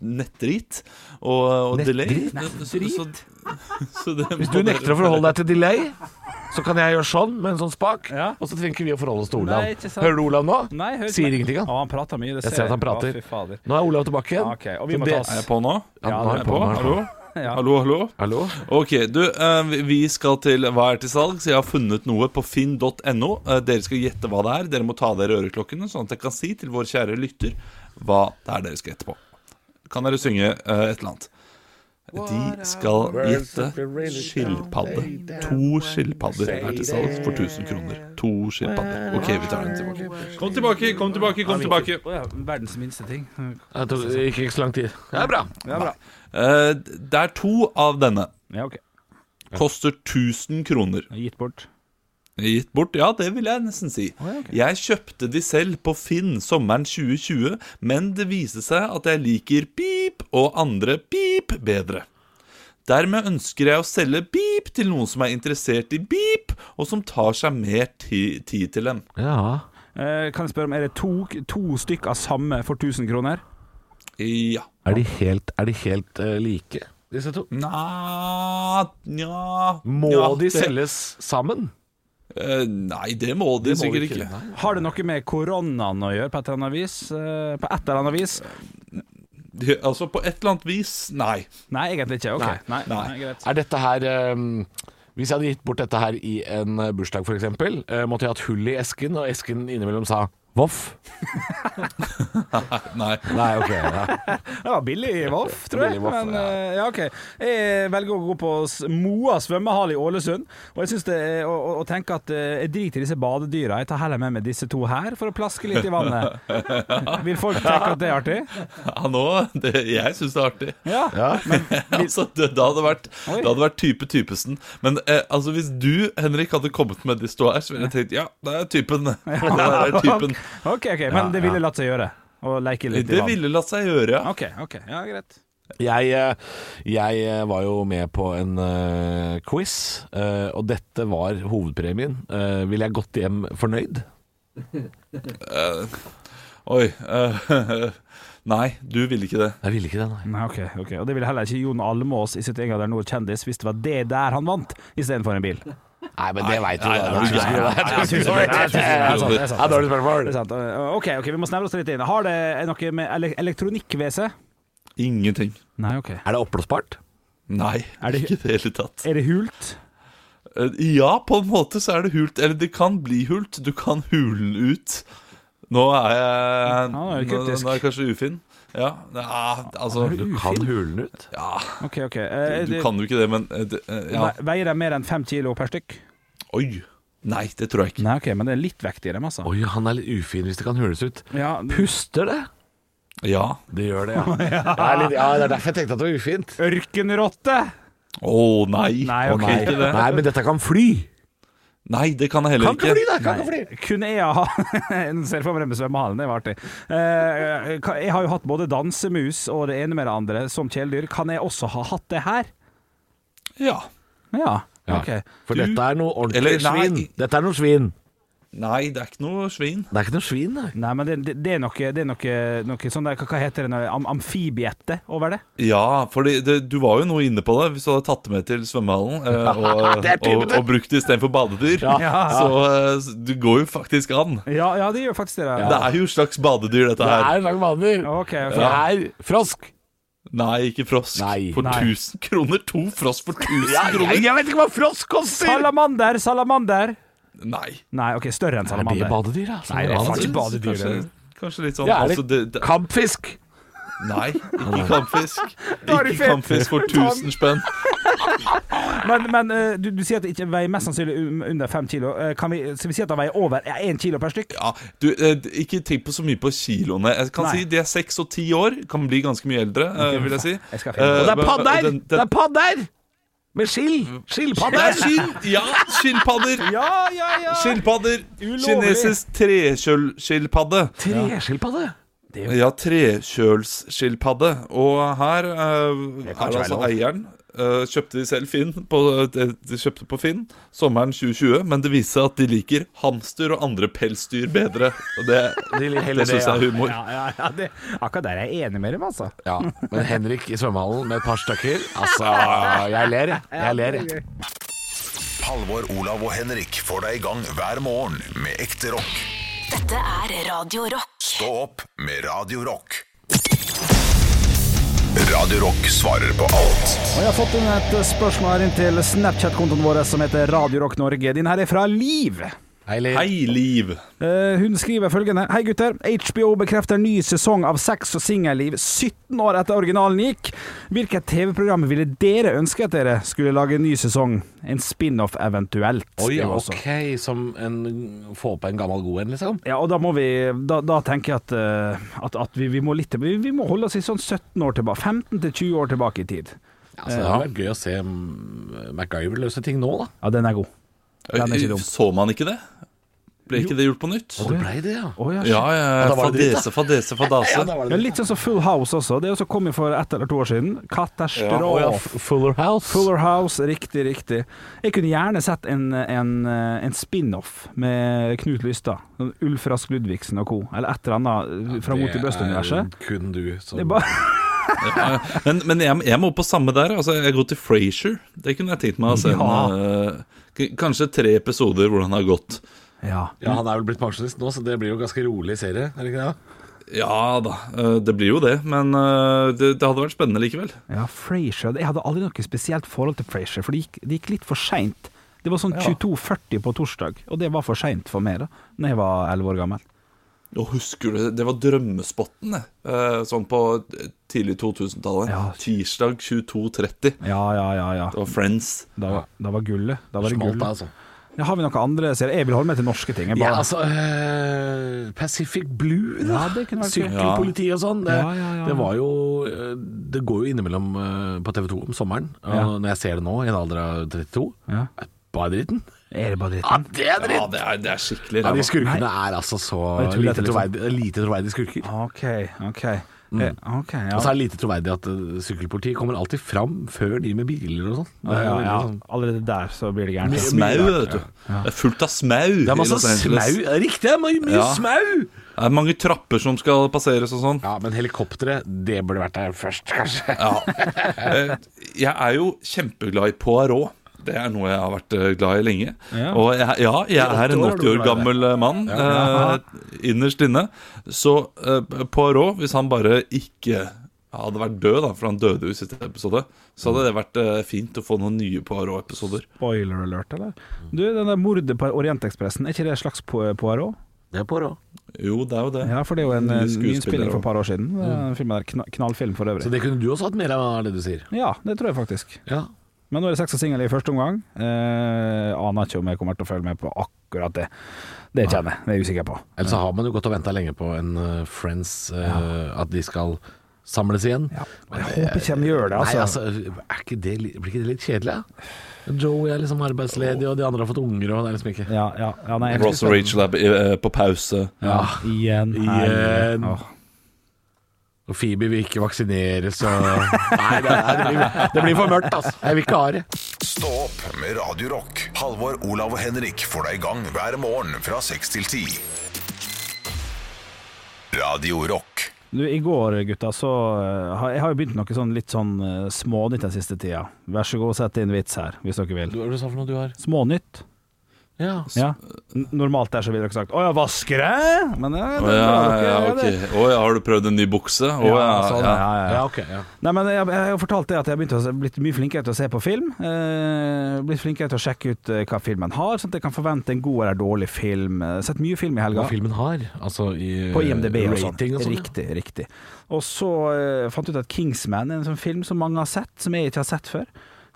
S3: nettdrit og, og delay.
S4: Nettdrit?
S3: Så, så, så det
S5: Hvis du nekter å forholde deg til delay, så kan jeg gjøre sånn med en sånn spak,
S4: Ja.
S5: og så trenger ikke vi å forholde oss til
S4: Nei,
S5: Olav.
S4: ikke sant.
S5: Hører du Olav nå?
S4: Nei, hører ikke
S5: Sier
S4: meg.
S5: ingenting, han.
S4: Å, han prater mye, det
S5: Jeg ser at han prater.
S4: Å, fy fader.
S5: Nå er Olav tilbake igjen.
S4: Ok, og vi
S5: Så
S4: må
S5: det-
S4: ta oss-
S3: Er jeg på nå?
S5: Ja, nå
S4: Ja,
S5: er
S4: det
S5: jeg
S4: er
S5: på.
S4: på.
S5: nå er jeg på.
S3: Hallo?
S4: Ja.
S3: Hallo, hallo?
S5: Hallo?
S3: Ok, du, eh, vi- vi skal til Hva er til salg? Så jeg har funnet noe på finn.no. Eh, Dere skal gjette hva det er. Dere må ta av dere øreklokkene, sånn at jeg kan si til vår kjære lytter hva det er dere skal gjette på. Kan dere synge eh, et eller annet? De skal gjette skilpadde. To skilpadder er til salgs for 1000 kroner. To skilpadder. Ok, vi tar den tilbake. Kom tilbake, kom tilbake, kom tilbake.
S4: Å, ja, verdens minste ting.
S5: Jeg tok, det gikk ikke så lang tid. Det er bra.
S3: Eh, Det er to av denne.
S4: Ja, ok.
S3: Koster 1000 kroner.
S4: Gitt bort.
S3: Gitt bort? Ja, det vil jeg nesten si.
S4: ja, ok.
S3: Jeg kjøpte de selv på Finn sommeren 2020, men det viste seg at jeg liker pip og andre pip bedre. Dermed ønsker jeg å selge pip til noen som er interessert i pip, og som tar seg mer ti tid til dem.
S5: Ja.
S4: Eh, kan jeg spørre om er det to, to stykk av samme for 1000 kroner?
S3: Ja.
S5: Er de helt, er de helt eh, like, disse to?
S3: Nja Nja
S5: Må
S3: nja,
S5: de
S3: det-
S5: selges sammen?
S3: Eh, nei, det må de sikkert ikke.
S4: Har det noe med koronaen å gjøre på et eller annet vis? Eh, på et eller annet vis?
S3: De, altså, på et eller annet vis, nei. [LAUGHS]
S4: Nei, egentlig ikke. Ok,
S5: Nei.
S4: Nei, nei.
S3: Nei.
S4: greit.
S5: Er dette her ehm, Hvis jeg hadde gitt bort dette her i en eh, bursdag, f.eks., uh, måtte jeg hatt hull i esken, og esken innimellom sa voff?
S3: Nei. [LAUGHS]
S5: Nei, ok. Ja.
S4: Det var billig voff, tror jeg.
S5: Billig voff,
S4: Men,
S5: ja.
S4: eh, ja, ok. Jeg velger å gå på s- Moa svømmehall i Ålesund. Og jeg synes det er å, å- å tenke at eh, jeg driter i disse badedyra. Jeg tar heller med meg disse to her for å plaske litt i vannet. Vil folk tenke at det er artig?
S3: Ja, nå det, Jeg syns det er artig.
S4: Ja.
S3: altså, det, det, hadde vært,
S4: Oi.
S3: det hadde vært type typesen. Men eh, altså, hvis du, Henrik, hadde kommet med de stå her, så ville jeg tenkt ja, det er typen. [LAUGHS] Det er typen.
S4: Ok, ok, men det ville latt seg gjøre. Å leke litt i
S3: Det
S4: vann.
S3: ville latt seg gjøre, ja.
S4: Ok, ok, ja greit.
S5: Jeg, eh, jeg eh, var jo med på en eh, quiz, eh, og dette var hovedpremien. Eh, Ville jeg gått hjem fornøyd?
S3: Oi. eh, [LAUGHS] nei, du ville ikke det.
S5: Jeg ville ikke det, nei.
S4: Nei, ok, ok. Og det ville heller ikke Jon Almås i sitt eget der nord kjendis hvis det var det der han vant, istedenfor en bil.
S5: Nei, men det veit du.
S3: nei,
S5: da.
S3: nei,
S5: Du
S3: nei,
S5: skulle-
S3: nei,
S5: [LAUGHS] Nei, du skulle-
S4: nei, nei,
S5: Det er sant, det er sant. Det er dårlig
S4: Det
S5: spørsmål.
S4: er sant. Uh, OK, ok, vi må snevre oss litt inn. Har det noe med ele elektronikk-WC?
S3: Ingenting.
S4: Nei, OK.
S5: Er det oppblåsbart?
S3: Nei,
S4: Er det-
S3: ikke i det hele tatt.
S4: Er det hult?
S3: Eh, Ja, på en måte så er det hult. Eller det kan bli hult. Du kan hule den ut. Nå er jeg
S4: nå er
S3: nå,
S4: du kryptisk.
S3: nå er jeg kanskje ufin. Ja, det er, altså
S5: Du kan hule den ut.
S3: ja,
S4: OK, OK.
S5: Eh,
S4: Uh,
S3: Du
S4: det-
S3: kan jo ikke det, men eh, det, eh, ja.
S4: ve- Veier de mer enn fem kilo per stykk?
S3: Oi. Nei, det tror jeg ikke.
S4: Nei, OK, men det er litt vekt i dem, altså.
S5: Oi, han er litt ufin hvis det kan hules ut.
S4: Ja, det-
S5: Puster det?
S3: Ja.
S5: Det gjør det, ja. Det er, litt, ja, det er derfor jeg tenkte at det var ufint.
S4: Ørkenrotte!
S3: Å nei.
S4: Nei,
S3: Ok,
S4: nei.
S3: Ikke det.
S5: Nei, men dette kan fly.
S3: nei, det kan jeg heller
S5: Kan ikke fly,
S3: ikke.
S5: da! Kan ikke fly.
S4: Kunne jeg ha [LAUGHS] Nå Ser jeg for meg dem svømme halen, det var artig. Eh, kan- jeg har jo hatt både dansemus og det ene med det andre som kjæledyr. Kan jeg også ha hatt det her?
S3: Ja.
S4: Ja.
S5: Ja,
S4: ok.
S5: For
S3: Du-
S5: dette er noe ordentlig
S3: Eller, nei.
S5: svin. Dette er noe svin.
S3: Nei, det er ikke noe svin.
S5: Det er ikke noe svin, nei.
S4: Nei, men det, det, det er noe, det er noe, noe sånn der, hva- Hva heter det? Am amfibiette over det?
S3: Ja, for du var jo noe inne på det. Hvis du hadde tatt det med til svømmehallen
S5: [LAUGHS]
S3: eh, og,
S5: Det er typen
S3: og,
S5: det.
S3: og brukt det istedenfor badedyr, [LAUGHS]
S4: Ja.
S3: så eh, du går jo faktisk an.
S4: Ja, ja det gjør faktisk det.
S3: Det
S4: Ja.
S3: er jo et slags badedyr, dette
S5: Det
S3: her.
S5: er langvaner.
S4: OK. ok.
S5: Det er frosk.
S3: Nei, ikke frosk.
S5: Nei.
S3: For
S4: Nei.
S3: 1000 kroner! To frosk
S5: [LAUGHS]
S3: for 1000
S5: Ja, jeg,
S3: kroner!
S5: jeg vet ikke hva frosk koster!
S4: Salamander, salamander!
S3: Nei.
S4: Nei, OK, større enn
S5: Er det
S4: salamander.
S5: badedyr, da?
S4: Nei, det er faktisk
S5: Salamander?
S4: badedyr,
S3: Kanskje,
S4: det.
S3: kanskje litt sånn
S5: Ja, er det-
S3: altså, det, det,
S5: Kampfisk.
S3: Nei, ikke
S5: [LAUGHS]
S3: kampfisk.
S4: Da er du
S3: Ikke
S4: fet.
S3: kampfisk for 1000 spenn.
S4: Men, men eh, du, du sier at det ikke veier mest sannsynlig un- under fem kilo. Eh, Kan vi, skal vi si at det veier over én kilo per stykk?
S3: Ja, du, eh, ikke tenk på så mye på kiloene. Jeg kan
S4: Nei.
S3: si De er seks og ti år. Kan bli ganske mye eldre, eh, vil jeg si.
S4: Jeg skal finne på
S3: Eh,
S5: Og det er
S3: men-
S5: padder!
S3: den- den-
S5: Det er padder! Med skill.
S3: Det er
S5: Skilpadder.
S3: skinn! Ja,
S5: [LAUGHS]
S3: skilpadder!
S4: Ja, ja, ja!
S3: Skilpadder.
S4: Ulovlig.
S3: Kinesisk trekjølskilpadde.
S5: Treskilpadde.
S3: Ja, trekjølsskilpadde. Og her eh, er
S4: ikke
S3: altså
S4: være lov.
S3: eieren. eh, kjøpte de selv Finn på, de de kjøpte på Finn sommeren 2020, men det viser seg at de liker hamster og andre pelsdyr bedre. Og det, det syns jeg er humor.
S4: Ja, ja, ja, det, akkurat der er jeg enig med dem, altså.
S5: Ja, men Henrik i svømmehallen med et par stykker Altså, jeg ler, jeg. Jeg ler, jeg.
S1: Halvor, Olav og Henrik får deg i gang hver morgen med ekte rock.
S2: Dette er Radio Rock.
S1: Stå opp med Radio Rock. Radio Rock svarer på alt.
S4: Og jeg har fått inn et spørsmål inn til Snapchat-kontoen vår som heter Radio Rock Norge. Din her er fra Liv.
S5: Hei, Liv.
S3: Hei, Liv.
S4: Eh, hun skriver følgende Hei gutter, HBO bekrefter ny sesong av sex og singelliv 17 år etter originalen gikk. Hvilket TV-program ville dere ønske at dere skulle lage en ny sesong? En spin-off eventuelt.
S5: Oi,
S4: skriver hun også.
S5: ok, som en Få på en gammel god en, liksom?
S4: Ja, og da må vi Da, da tenker jeg at, eh, at, at vi, vi må litt vi, vi må holde oss i sånn 17 år tilbake 15 til 20 år tilbake i tid.
S5: Altså, det hadde vært gøy å se mm, MacGyver løse ting nå, da.
S4: Ja, den er god. Den er ikke dum.
S3: Eh, Så man ikke det? Ble ikke det gjort på nytt?
S5: Og det blei det, ja.
S4: Å, ja, shit.
S3: Ja, ja,
S5: da var det dritt,
S3: fadese, fadese, fadase.
S4: Ja, litt sånn som Full House også. Det er også kommet for ett eller to år siden. Katastrofe.
S5: Fuller House.
S4: Fuller House, riktig, riktig. Jeg kunne gjerne sett en, en, en spin-off med Knut Lystad. Sånn Ulf Rask Ludvigsen og co. Eller et eller annet eh, fra Mot i Bøst-universet.
S5: Kun du som
S4: Det er bare- [LAUGHS]
S3: Men, men jeg, jeg må på samme der. Altså, jeg går til Frasier. Det kunne jeg tenkt meg å se. en, eh, k- kanskje tre episoder hvordan det har gått.
S4: Ja.
S5: Ja, han er vel blitt pensjonist nå, så det blir jo ganske rolig serie, er det ikke det?
S3: Ja da, eh, det blir jo det. Men eh, det, det hadde vært spennende likevel.
S4: ja Frasier. Jeg hadde aldri noe spesielt forhold til Frasier, for det gikk, det gikk litt for seint. Det var sånn 22.40 på torsdag, og det var for seint for meg da Når jeg var 11 år gammel.
S3: Og husker du, Det var drømmespotten, det. Eh, sånn på tidlig 2000-tallet.
S4: Ja.
S3: Tirsdag 22.30. Det
S4: Ja, ja, ja. ja
S3: var Friends.
S4: Da, da var gullet. Da var det
S5: Smalt,
S4: gull.
S5: altså.
S4: Ja, har vi noen andre serier? Jeg vil holde meg til norske ting. Jeg
S5: Ja,
S4: bare,
S5: altså eh, Pacific Blue, da.
S4: Ja, det kunne vært gøy.
S5: Sykkelpoliti og sånn. Det,
S4: Ja, ja, ja.
S5: det var jo eh, Det går jo innimellom eh, på TV2 om sommeren. Og
S4: Ja.
S5: Når jeg ser det nå, i en alder av 32
S4: Ja.
S5: Bare dritten.
S4: Er det bare
S5: Ja,
S4: dritten?
S5: det er
S3: Ja,
S5: dritt!
S3: det er, det er skikkelig
S5: Ja, de
S3: ræva.
S5: skurkene er altså så
S4: Jeg tror det
S5: lite
S4: er liksom-
S5: troverdige, lite troverdige skurker.
S4: OK, OK. Eh, ok, ja.
S5: Ah. Mm. Og så er det lite troverdig at eh, sykkelpolitiet kommer alltid fram før de med biler og sånn. Det
S4: Ja,
S5: er jo
S4: ja,
S5: veldig
S4: ja.
S5: sånn-
S4: Allerede der så blir det gærent.
S3: Det er Smau, vet du. Det er fullt av smau.
S5: Det
S3: i
S5: er masse
S3: Los
S5: smau.
S3: Angeles.
S5: Ja, Riktig, det er mye, mye
S3: Ja.
S5: smau!
S3: Det er mange trapper som skal passeres og sånn.
S5: Ja, men helikopteret, det burde vært der først, kanskje.
S3: Ja. Eh, Jeg er jo kjempeglad i Poirot. Det er noe jeg har vært eh, glad i lenge.
S4: Ja.
S3: Og jeg, ja, jeg er en
S5: år er du
S3: 80 år
S5: glad i det.
S3: gammel eh, mann eh, innerst inne. Så eh, Poirot, hvis han bare ikke hadde vært død, da, for han døde jo i siste episode, så hadde det vært eh, fint å få noen nye Poirot-episoder.
S4: Spoiler alert, eller? Du, den der mordet på Orientekspressen, er ikke det et slags po- Poirot?
S5: Det er på råd.
S3: Jo, det er jo det.
S4: Ja, for det er jo en
S3: Nye
S4: en
S3: skuespillere
S4: nyinnspilling
S3: også.
S4: for et par år siden. Den Filmen der, kna- knallfilm for
S5: Så
S4: øvrig.
S5: det kunne du også hatt mer av, er det du sier.
S4: Ja, det tror jeg faktisk.
S5: Ja.
S4: Men nå er det sex og singel i første omgang. Eh, aner ikke om jeg kommer til å følge med på akkurat det. Det kjenner jeg, det er jeg usikker på.
S5: Eller så har man jo gått og venta lenge på en eh, Friends, eh, at de skal samles igjen.
S4: Ja, og jeg håper ikke de gjør det,
S5: Nei,
S4: altså.
S5: altså er ikke det, li- blir ikke det litt kjedelig, da? Joey er liksom arbeidsledig, og de andre har fått unger, og det er liksom ikke
S4: Ja, ja, ja, nei, jeg-
S3: Ross og Rachel er eh, på pause.
S5: Ja.
S4: Igjen.
S5: Igjen.
S4: Åh.
S5: Og Phoebe vil ikke vaksineres,
S4: [LAUGHS]
S5: og Nei, det, det, blir, det blir for mørkt, altså. Jeg vil ikke ha det.
S1: Stå opp med Radio Rock. Halvor, Olav og Henrik får deg i gang hver morgen fra 6 til 10. Radio Rock.
S4: Du, I går, gutta, så eh, har jeg har jo begynt noe sånn litt sånn eh, smånytt den siste tida. Vær så god, sett inn vits her, hvis dere vil.
S5: Hva er det du sa for noe du har?
S4: Smånytt.
S5: Ja.
S4: Ja. N- Normalt der så ville dere sagt 'Å ja, vasker jeg?' Men eh, det
S3: Å
S4: er
S3: ja,
S4: bra, dere
S3: ja,
S4: gjør
S3: ok.
S4: det.
S3: Å ja, har du prøvd en ny bukse? Å ja,
S4: sånn,
S3: ja.
S4: ja, ja, ja.
S5: Ja, ok. Ja.
S4: Nei, men jeg, jeg har jo fortalt det at jeg har begynt å, se- blitt mye flinkere til å se på film. Eh, blitt flinkere til å sjekke ut eh, hva filmen har, sånn at jeg kan forvente en god eller dårlig film. Eh, Sett mye film i helga.
S5: Hva filmen har, altså i
S4: På IMDb og sånn.
S5: rating og sånn. ja.
S4: Riktig, riktig. Og så eh, fant jeg ut at Kingsman er en sånn film som mange har sett, som jeg ikke har sett før.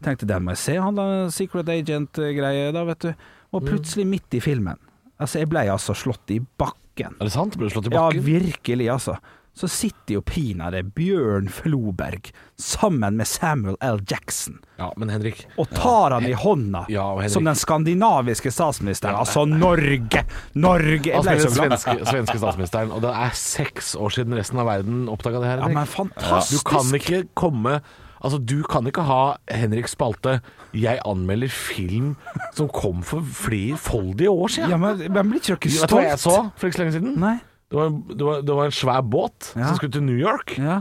S4: Tenkte den må jeg se, han da Secret Agent-greie da, vet du.
S5: Mm.
S4: Og plutselig midt i filmen, altså jeg ble altså slått i bakken.
S5: Er det sant? Ble du slått i
S4: Ja,
S5: bakken?
S4: virkelig, altså. Så sitter jo pinadø Bjørn Floberg sammen med Samuel L. Jackson
S5: Ja, men Henrik
S4: og tar han i hånda
S5: Ja, og Henrik-
S4: som den skandinaviske statsministeren. Altså Norge! Norge! Jeg
S5: Altså,
S4: ble
S5: den
S4: så glad.
S5: svenske, svenske statsministeren, og det er seks år siden resten av verden oppdaga det her.
S4: Ja,
S5: Henrik.
S4: men fantastisk!
S5: Du kan ikke komme Altså, du kan ikke ha Henrik Spalte 'Jeg anmelder film som kom for flerfoldige år siden'.
S4: Ja, men men blir ikke dere
S5: Vet du hva jeg så
S4: stolt?
S5: for ikke så lenge siden?
S4: Nei.
S5: Det var, det, var, det var en svær båt
S4: Ja.
S5: som skulle til New York.
S4: Ja.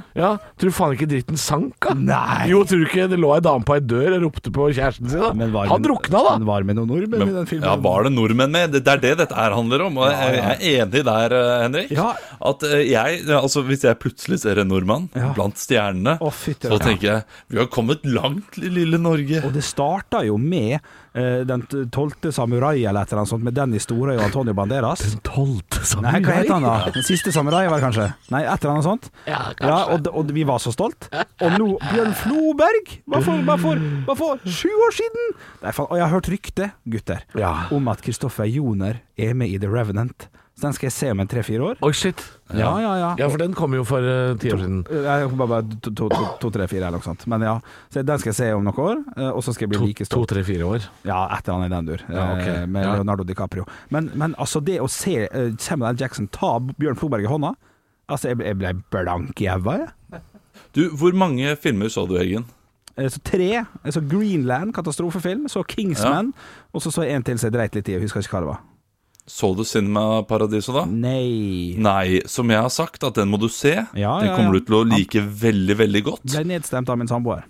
S5: Tror du faen ikke dritten sank, da?
S4: Nei.
S5: Jo, tror du ikke det lå ei dame på ei dør og ropte på kjæresten sin? da? Han drukna, da!
S4: Men var med noen nordmenn i den filmen?
S3: Ja, var det nordmenn med? Det, det er det dette her handler om. Og jeg, jeg er enig der, eh, Henrik.
S4: Ja.
S3: At eh, jeg, altså Hvis jeg plutselig ser en nordmann
S4: Ja.
S3: blant stjernene,
S4: Å, fytti
S3: så
S4: rakkeren.
S3: tenker jeg vi har kommet langt, lille Norge.
S4: Og det starta jo med eh, den tolvte samurai eller et eller annet sånt, med Dennis Storøy og Antonio Banderas.
S5: Tolvte sammen.
S4: Nei, hva heter han da? Den siste samurai, var det kanskje? Nei, et eller annet sånt.
S5: Ja, kanskje.
S4: Ja, og, d- og vi var så stolt. Og nå Bjørn Floberg! Bare for, bare for, bare for sju år siden! Nei, faen, og jeg har hørt rykte, gutter,
S5: Ja.
S4: om at Kristoffer Joner er med i The Revenant. Så den skal jeg se om en tre-fire år.
S5: Oi, shit.
S4: Ja, ja, ja.
S5: Ja, for den kom jo for eh, ti år siden.
S4: Jeg kom bare bare to, to, to, to, tre, fire eller noe sånt. Men ja, så den skal jeg se om noen år, eh, og så skal jeg bli like stolt.
S5: To-tre-fire år.
S4: Ja, et eller annet i den dur, eh,
S5: Ja, ok.
S4: med
S5: Ja.
S4: Leonardo DiCaprio. Men, men altså, det å se eh, Samuel L. Jackson ta Bjørn Floberg i hånda Altså, jeg ble, jeg ble blank i øynene, jeg.
S3: Du, Hvor mange filmer så du, Eggen?
S4: Eh, Så tre. eh, Så Greenland, katastrofefilm. Så Kingsman. Og så så jeg en til som jeg dreit litt i. Jeg husker ikke hva det var.
S3: Så du Cinema Paradiso da?
S4: Nei
S3: Nei, som jeg har sagt, at den må du se.
S4: ja,
S3: den
S4: ja.
S3: kommer du til å like veldig, veldig godt.
S4: Ble nedstemt av min samboer.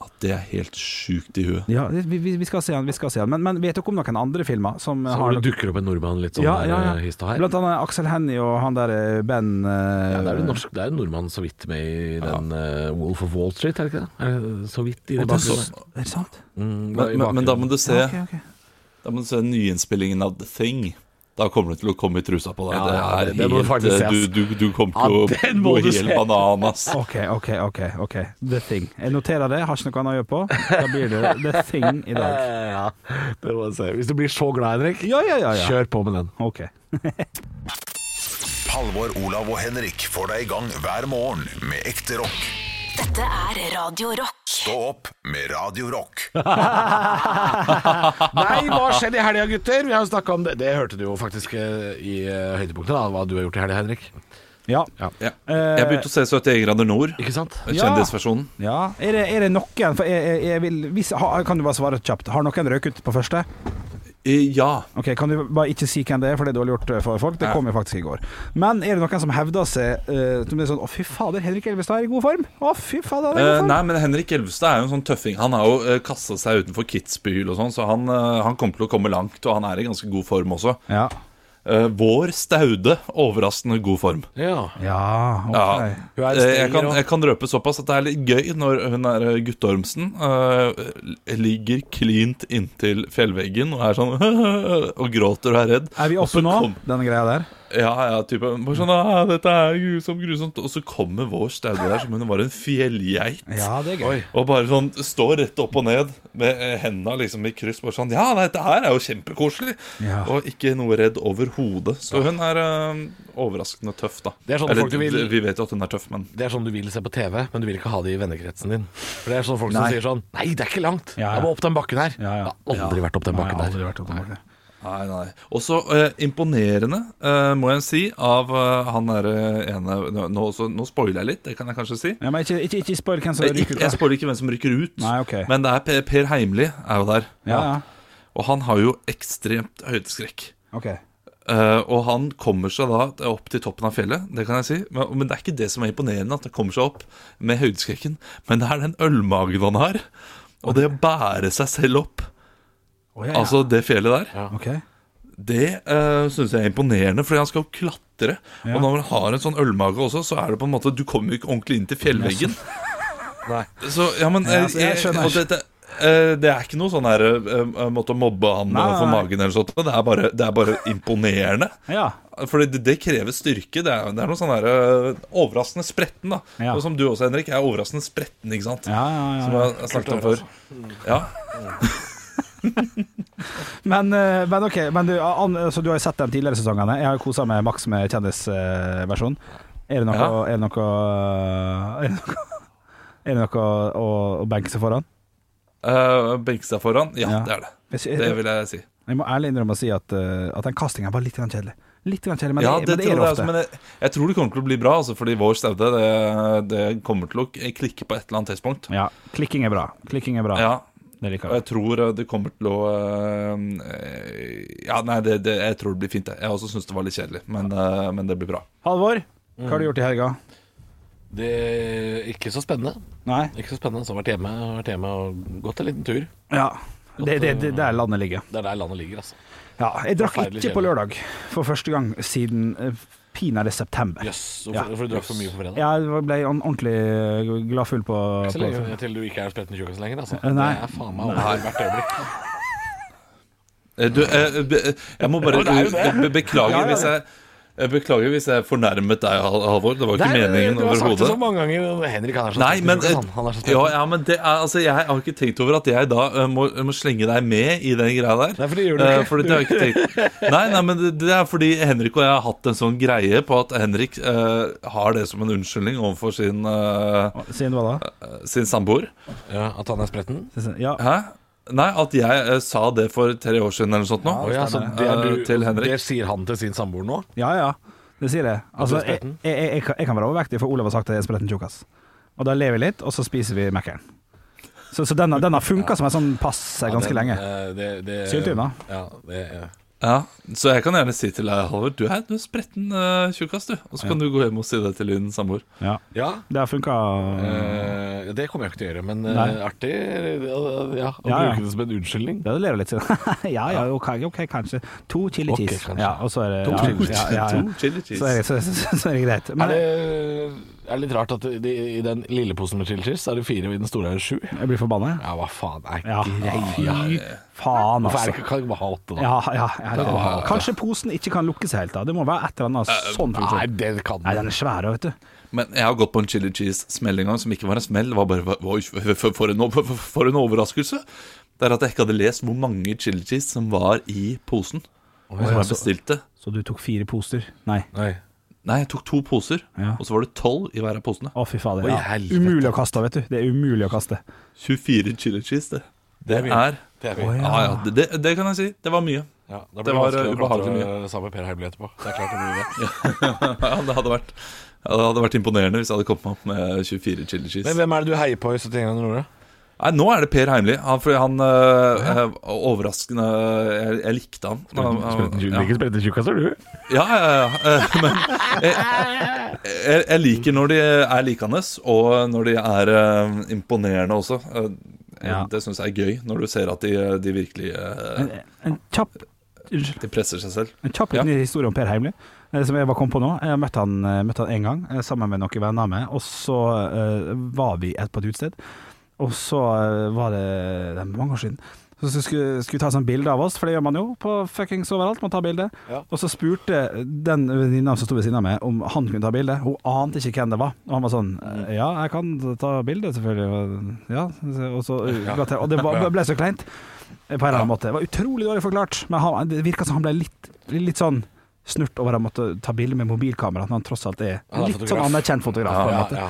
S3: At det er helt sjukt i huet.
S4: Ja, vi, vi, vi skal se han, vi skal se han. Men, men vet dere om noen andre filmer som eh,
S5: Så
S4: har
S5: det dukker opp en nordmann litt sånn
S4: Ja,
S5: der,
S4: ja, ja.
S5: eh, hist og her.
S4: Blant annet Aksel Hennie og han der eh, Ben eh,
S5: Ja, det er jo norsk, det er jo nordmann så vidt med i den eh, Wolf of Wall Street, er det ikke det? Er det så vidt i det
S4: Og den
S5: bakgrunnen.
S4: så- Er det sant?
S5: Mm,
S3: Men, men, men da må du se
S4: Ja, ok, ok.
S3: Da må du se nyinnspillingen av The Thing. Da kommer du til å komme i trusa på deg.
S5: Ja,
S3: det
S5: ja,
S3: er
S5: det- det
S3: helt,
S5: må du
S3: eh,
S5: faktisk se, ass.
S3: du, du, du kommer til
S5: Ja,
S3: å
S5: [LAUGHS]
S3: gå
S5: den må du
S3: helt
S5: se.
S3: bananas.
S4: Ok, ok, ok. ok The Thing. Jeg noterer det, har ikke noe annet å gjøre på. Da blir det
S5: [LAUGHS]
S4: The Thing i dag.
S5: ja, det må jeg si. Hvis du blir så glad, Henrik,
S4: Ja, ja, ja. ja.
S5: kjør på med den.
S4: Ok. [LAUGHS]
S1: Halvor, Olav og Henrik får deg i gang hver morgen med ekte rock.
S2: Dette er Radio Rock.
S1: Stå opp med Radio Rock.
S5: [LAUGHS] Nei, hva skjedde i helga, gutter? Vi har jo snakka om det. Det hørte du jo faktisk eh, i eh, høydepunktet, da, hva du har gjort i helga, Henrik.
S4: Ja.
S3: Ja. Jeg begynte å se 71 grader nord.
S5: Eh, Ikke sant?
S3: Eh, Kjendisversjonen.
S4: Ja, er det, er det noen For jeg, jeg, jeg vil hvis, ha, Kan du bare svare kjapt? Har noen røket ut på første?
S3: Eh, Ja.
S4: Ok, Kan du bare ikke si hvem det er, for det er dårlig gjort eh, for folk. Det
S3: Ja.
S4: kom jo faktisk i går. Men er det noen som hevder seg eh, som det er sånn 'Å, fy fader, Henrik Elvestad er i god form'? Å, fy fader, han er i
S3: Eh,
S4: god form.
S3: nei, men Henrik Elvestad er jo en sånn tøffing. Han har jo uh, kasta seg utenfor Kitzbühel og sånn, så han, eh, han kommer til å komme langt, og han er i ganske god form også.
S4: Ja.
S3: Eh, vår Staude, overraskende god form.
S5: Ja.
S4: ja, ok.
S3: Ja.
S5: Hun er
S3: Eh,
S5: stringer
S3: jeg, kan,
S5: også.
S3: jeg kan røpe såpass at det er litt gøy når hun er eh, Guttormsen. eh, ligger klint inntil fjellveggen og er sånn [LAUGHS] og gråter og er redd.
S4: Er vi
S3: Og så
S4: oppe nå,
S3: kom-
S4: denne greia der?
S3: Ja, ja, type bare sånn, «Ah, Dette er grusomt, grusomt. Og så kommer vår Staude der som om hun var en fjellgeit.
S4: Ja, det er gøy.
S3: Og bare sånn står rett opp og ned med eh, hendene liksom i kryss. Bare sånn Ja, nei, dette her er jo kjempekoselig.
S4: Ja.
S3: Og ikke noe redd overhodet. Så hun er eh, overraskende tøff, da.
S5: Det er sånn
S3: Eller,
S5: folk vil-
S3: d- Vi vet jo at hun er tøff, men
S5: Det er sånn du vil se på TV, men du vil ikke ha det i vennekretsen din. For det er sånn folk som
S4: Nei.
S5: sier sånn Nei, det er ikke langt.
S4: Ja, ja.
S5: Jeg må opp den bakken her.
S4: Ja, ja.
S5: Jeg har aldri vært opp den
S4: Nei, jeg
S5: bakken
S4: har
S5: der.
S4: aldri vært oppe bak det.
S3: Nei, nei. Også eh, imponerende, eh, må jeg si, av eh, han derre ene nå, nå, så, nå spoiler jeg litt, det kan jeg kanskje si.
S4: Ja, men ikke, ikke, ikke spør hvem som
S3: Jeg,
S4: ryker
S3: ikke,
S4: ut.
S3: jeg
S4: da.
S3: spoiler ikke hvem som rykker ut,
S4: Nei, ok.
S3: men det er per, per Heimli er jo der.
S4: Ja, ja.
S3: Og han har jo ekstremt høydeskrekk.
S4: Ok.
S3: Eh, og han kommer seg da opp til toppen av fjellet, det kan jeg si. Men, men det er ikke det som er imponerende, at han kommer seg opp med høydeskrekken. Men det er den ølmagen han har, og det å bære seg selv opp,
S4: Å, ja, ja.
S3: altså det fjellet der.
S4: Ok.
S3: Det uh, syns jeg er imponerende, fordi han skal jo klatre. Og når man har en sånn ølmage også, så er det på en måte Du kommer jo ikke ordentlig inn til
S4: [LAUGHS]
S3: fjellveggen.
S5: Nei.
S3: Så, ja, men
S4: Ja, altså, jeg skjønner.
S3: og dette, eh, det er ikke noe sånn her eh, eh, måte å mobbe han
S4: Nei, nei,
S3: for
S4: nei.
S3: magen eller sånt. Det er bare, det er bare imponerende.
S4: Ja.
S3: For det, det krever styrke. Det er, det er noe sånn her eh, overraskende spretten, da.
S4: Ja.
S3: Og som du også, Henrik, er overraskende spretten, ikke sant?
S4: Ja, ja, ja,
S3: Som
S4: ja.
S3: jeg har snakket om før. Ja.
S4: Men, eh, men ok, men du, an, så du har jo sett de tidligere sesongene. Jeg har jo kosa meg maks med kjendisversjon. Er det noe,
S3: Ja.
S4: er det noe, er det noe er det noe å, å benke seg foran?
S3: Eh, Benke seg foran. Ja,
S4: Ja.
S3: det er det.
S4: Hvis-
S3: Det vil jeg si.
S4: Jeg må ærlig innrømme å si at, eh, at den castingen var litt grann kjedelig. Litt grann kjedelig, men,
S3: ja,
S4: det,
S3: det,
S4: men det
S3: tror
S4: er det
S3: jeg,
S4: ofte.
S3: også, men jeg, jeg tror det kommer til å bli bra, altså, fordi vår staude det, det kommer til å klikke på et eller annet tidspunkt.
S4: Ja, klikking er bra. Klikking er bra.
S3: Ja,
S4: Det
S3: og
S4: liker jeg.
S3: jeg tror eh, det kommer til å eh, Ja, nei, det, det, jeg tror det blir fint, jeg. Jeg også syns det var litt kjedelig, men, eh, men det blir bra.
S4: Halvor, hva har du gjort i helga?
S5: Det er ikke så spennende.
S4: Nei?
S5: Ikke så spennende. Så har vært hjemme, har vært hjemme og gått en liten tur.
S4: Ja. Det er det, det, der landet ligger.
S5: Det er der landet ligger, altså.
S4: Ja, jeg drakk
S5: Forferdelig
S4: ikke på lørdag for første gang siden eh, pinadø september.
S5: Jøss. Yes,
S4: Ja.
S5: hvorfor for du drakk for mye på fredag?
S4: Jeg ble an- ordentlig gladfull på,
S5: Ikke så
S4: på
S5: lenge til du ikke er spretten tjukkas lenger, altså.
S4: Nei.
S5: Det er faen meg over hvert øyeblikk.
S3: Eh, Du, eh, be- jeg må bare be- beklage hvis jeg jeg Beklager hvis jeg fornærmet deg, Hal- Halvor. Det var ikke meningen
S5: eh, du har sagt det så
S3: overhodet.
S5: mange ganger. Henrik, han er så
S3: Nei,
S5: spretten
S3: men,
S5: tjukkas, han. Han er så
S3: eh, ja,
S5: spretten.
S3: ja, men det er, altså, jeg har ikke tenkt over at jeg da eh, må, må slenge deg med i den greia der.
S5: Nei, for det gjør du
S3: Eh,
S5: ikke.
S3: fordi det har jeg ikke
S5: [LAUGHS]
S3: tenkt. Nei, nei, men det, det er fordi Henrik og jeg har hatt en sånn greie på at Henrik eh, har det som en unnskyldning overfor sin, eh,
S4: Siden hva da?
S3: sin samboer.
S5: Ja, at han er spretten?
S4: Ja,
S3: Hæ? Nei, at jeg eh, sa det for tre år siden eller noe sånt nå.
S5: Å ja, så det, er
S3: Eh,
S5: du,
S3: til Henrik.
S5: det sier han til sin samboer nå?
S4: ja. ja. Det sier jeg. Altså,
S5: du er
S4: jeg,
S5: spretten?
S4: jeg, jeg, kan- jeg kan være overvektig, for Olav har sagt at jeg er spretten tjukkas. Og da lever vi litt, og så spiser vi Mækkern. Så, så den har- den har funka som en sånn pass ganske
S5: Den,
S4: lenge.
S5: eh, det- det-
S4: Sylt unna.
S5: Ja, det, eh,
S3: Ja, så jeg kan gjerne si til deg, Halvor, du er, du er spretten eh, tjukkas, du. Og så kan du gå hjem og si det til din samboer.
S4: Ja.
S5: ja.
S4: Det har funka
S5: eh, det kommer jeg ikke til å gjøre, men eh,
S4: Nei.
S5: artig eh, ja, å
S4: Ja, ja.
S5: bruke det som en unnskyldning.
S4: Det hadde levd litt siden. [LAUGHS] ja, ja, ok, ok, kanskje. To chili
S5: Ok,
S4: cheese.
S5: kanskje.
S4: Ja, og så er det ja,
S5: chili
S4: ja, ja, ja.
S3: To chili cheese.
S4: Så er det, så, så, så, så er det greit.
S5: Er
S4: Men
S5: det, er det litt rart at det, i den lille posen med chili cheese er det fire, og i den store er det sju?
S4: jeg blir forbanna. jeg.
S5: Ja, hva faen er
S4: Ja. Fy faen,
S5: Hvorfor er
S4: altså.
S5: det ikke kan vi bare ha åtte, da?
S4: Ja, ja, ja, det kan- Kanskje posen ikke kan lukke seg helt, da. Det må være et eller annet sånn
S5: Eh, Nei,
S4: funksjon.
S5: det kan
S4: Nei,
S5: du
S4: den er svær, vet du.
S3: Men jeg har gått på en chili cheese-smell en gang som ikke var en smell. Det var bare oi, for, for, for, en, o- for en overraskelse. Det er at jeg ikke hadde lest hvor mange chili cheese som var i posen. Og så jeg bestilte
S4: Så du tok fire poser? Nei.
S5: Nei.
S3: Nei, jeg tok to poser,
S4: Ja.
S3: og så var det tolv i hver av posene.
S4: Å, fy fader.
S5: Oi,
S4: Ja.
S5: helvete.
S4: Umulig å kaste, vet du. Det er umulig å kaste.
S3: 24 chili cheese, det.
S5: Det er mye.
S3: Er,
S5: Det er
S4: Å,
S5: mye.
S3: ja, ja, det, det- det kan jeg si. Det var mye. [LAUGHS]
S5: Ja, da
S3: Det
S5: blir det
S3: var,
S5: vanskelig
S3: eh,
S5: å klatre
S3: ubehagelig
S5: eh, sammen med Per Heimli etterpå. Det er klart det blir det.
S3: Ja, det hadde vært ja, Det hadde vært imponerende hvis jeg hadde kommet meg opp med 24 chili cheese.
S5: Men hvem er det du heier på i 71 grader nord? da?
S3: Nei, nå er det Per Heimli. Han, for han øh, øh, Overraskende jeg, jeg likte han. Han- han-
S5: Sprøyten tjukk- Liker sprøyten tjukkaser, du?
S3: Ja, ja, ja, ja. Men jeg, jeg, jeg liker når de er likende, og når de er eh, imponerende også. Eh,
S4: Ja.
S3: Det syns jeg er gøy, når du ser at de, de virkelig eh,
S4: En, en kjapp Unnskyld.
S3: De presser seg selv.
S4: En kjapp liten historie om Per Heimly, eh, som jeg bare kom på nå. Jeg møtte han, eh, møtte han en gang, eh, sammen med noen venner av meg, og så eh, var vi et på et utested. Og så eh, var det, det er mange år siden. Så så skulle, skulle vi ta et sånt bilde av oss, for det gjør man jo på fuckings overalt. Man tar bilde. Og så spurte den venninna som sto ved siden av meg, om han kunne ta bilde. Hun ante ikke hvem det var. Og han var sånn eh, Ja, jeg kan ta bilde, selvfølgelig. Ja. Og, så, og det var, ble så kleint på en eller annen måte. Det var utrolig dårlig forklart, men han, det virka som han ble litt, litt sånn snurt over å måtte ta bilde med mobilkamera, når han tross alt er
S5: Han er
S4: litt
S5: fotograf.
S4: sånn anerkjent fotograf. på en måte.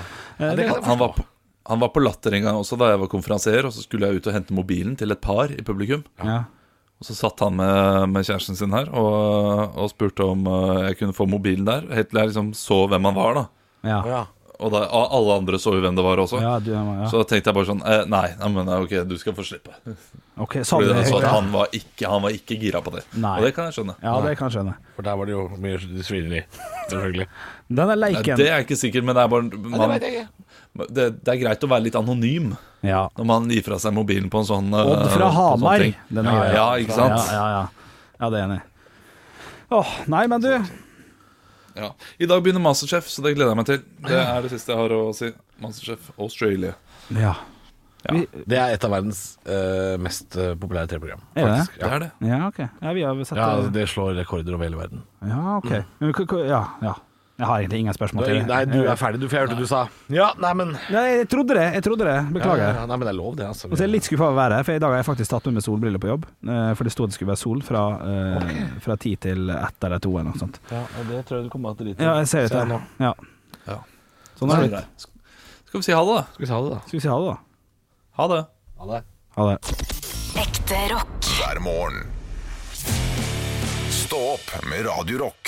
S4: Eh,
S5: det
S4: det-
S5: kan jeg
S3: Han var, på, han var på Latter en gang også, da jeg var konferansier, og så skulle jeg ut og hente mobilen til et par i publikum.
S4: ja.
S3: Og så satt han med, med kjæresten sin her og, og spurte om eh, jeg kunne få mobilen der, helt til jeg liksom så hvem han var, da.
S4: Ja.
S5: Ja.
S3: Og da, og alle andre så jo hvem det var også.
S4: Ja, du, ja.
S3: Så tenkte jeg bare sånn eh, Nei, nei, men ok, du skal få slippe.
S4: Ok, sa du
S3: Fordi
S4: det
S3: jeg så
S5: sånn
S4: høyt?
S3: at han var ikke, han var ikke gira på det.
S4: Nei.
S3: Og det kan jeg skjønne.
S4: Ja, det kan jeg skjønne.
S5: For der var det jo mye svineri, selvfølgelig.
S4: Den er
S3: Nei,
S4: leiken.
S3: Det er jeg ikke sikker, men det er bare man, det, det, er greit å være litt anonym
S4: Ja.
S3: når man gir fra seg mobilen på en sånn eh,
S4: Odd
S3: på
S4: fra
S3: sånne
S4: Hamar,
S3: ting.
S4: den er
S3: ja,
S4: grei.
S3: ja, ikke sant?
S4: Ja, ja, ja. ja det er jeg enig. i. Åh, nei, men du
S3: Ja. I dag begynner Masterchef, så det gleder jeg meg til. Det er det siste jeg har å si. Masterchef Australia.
S4: Ja.
S5: Det er et av verdens eh, mest eh, populære TV-program.
S4: Er det
S5: faktisk.
S3: Det er det.
S4: ja, OK. Ja, vi har sett
S5: Ja, altså,
S4: det.
S5: det slår rekorder over hele verden.
S4: Ja, OK. Men k- k- Ja, ja. Jeg har egentlig ingen spørsmål til det.
S5: Nei, du er ferdig, du, for jeg hørte du sa Ja, nei, men
S4: Nei, jeg trodde det. Jeg trodde det. Beklager.
S5: Ja, ja, nei, men det er lov, det, altså.
S4: Og så er jeg litt skuffa over været, for i dag har jeg faktisk tatt med meg solbriller på jobb. eh, For det sto det skulle være sol fra, eh, fra ti til ett eller to eller noe sånt.
S3: Ja, og det tror jeg du kommer til å drite
S4: Ja, jeg ser det
S5: Ser jeg
S4: der.
S5: nå.
S4: Ja.
S3: Ja.
S4: Sånn er det blitt.
S3: Skal vi si ha det, da?
S5: Skal vi ta det, da?
S4: Skal vi si ha det, da?
S3: Ha det.
S5: Ha det.
S4: Ha det.
S2: Ekte rock.
S1: hver morgen. Stå opp med Radio Rock.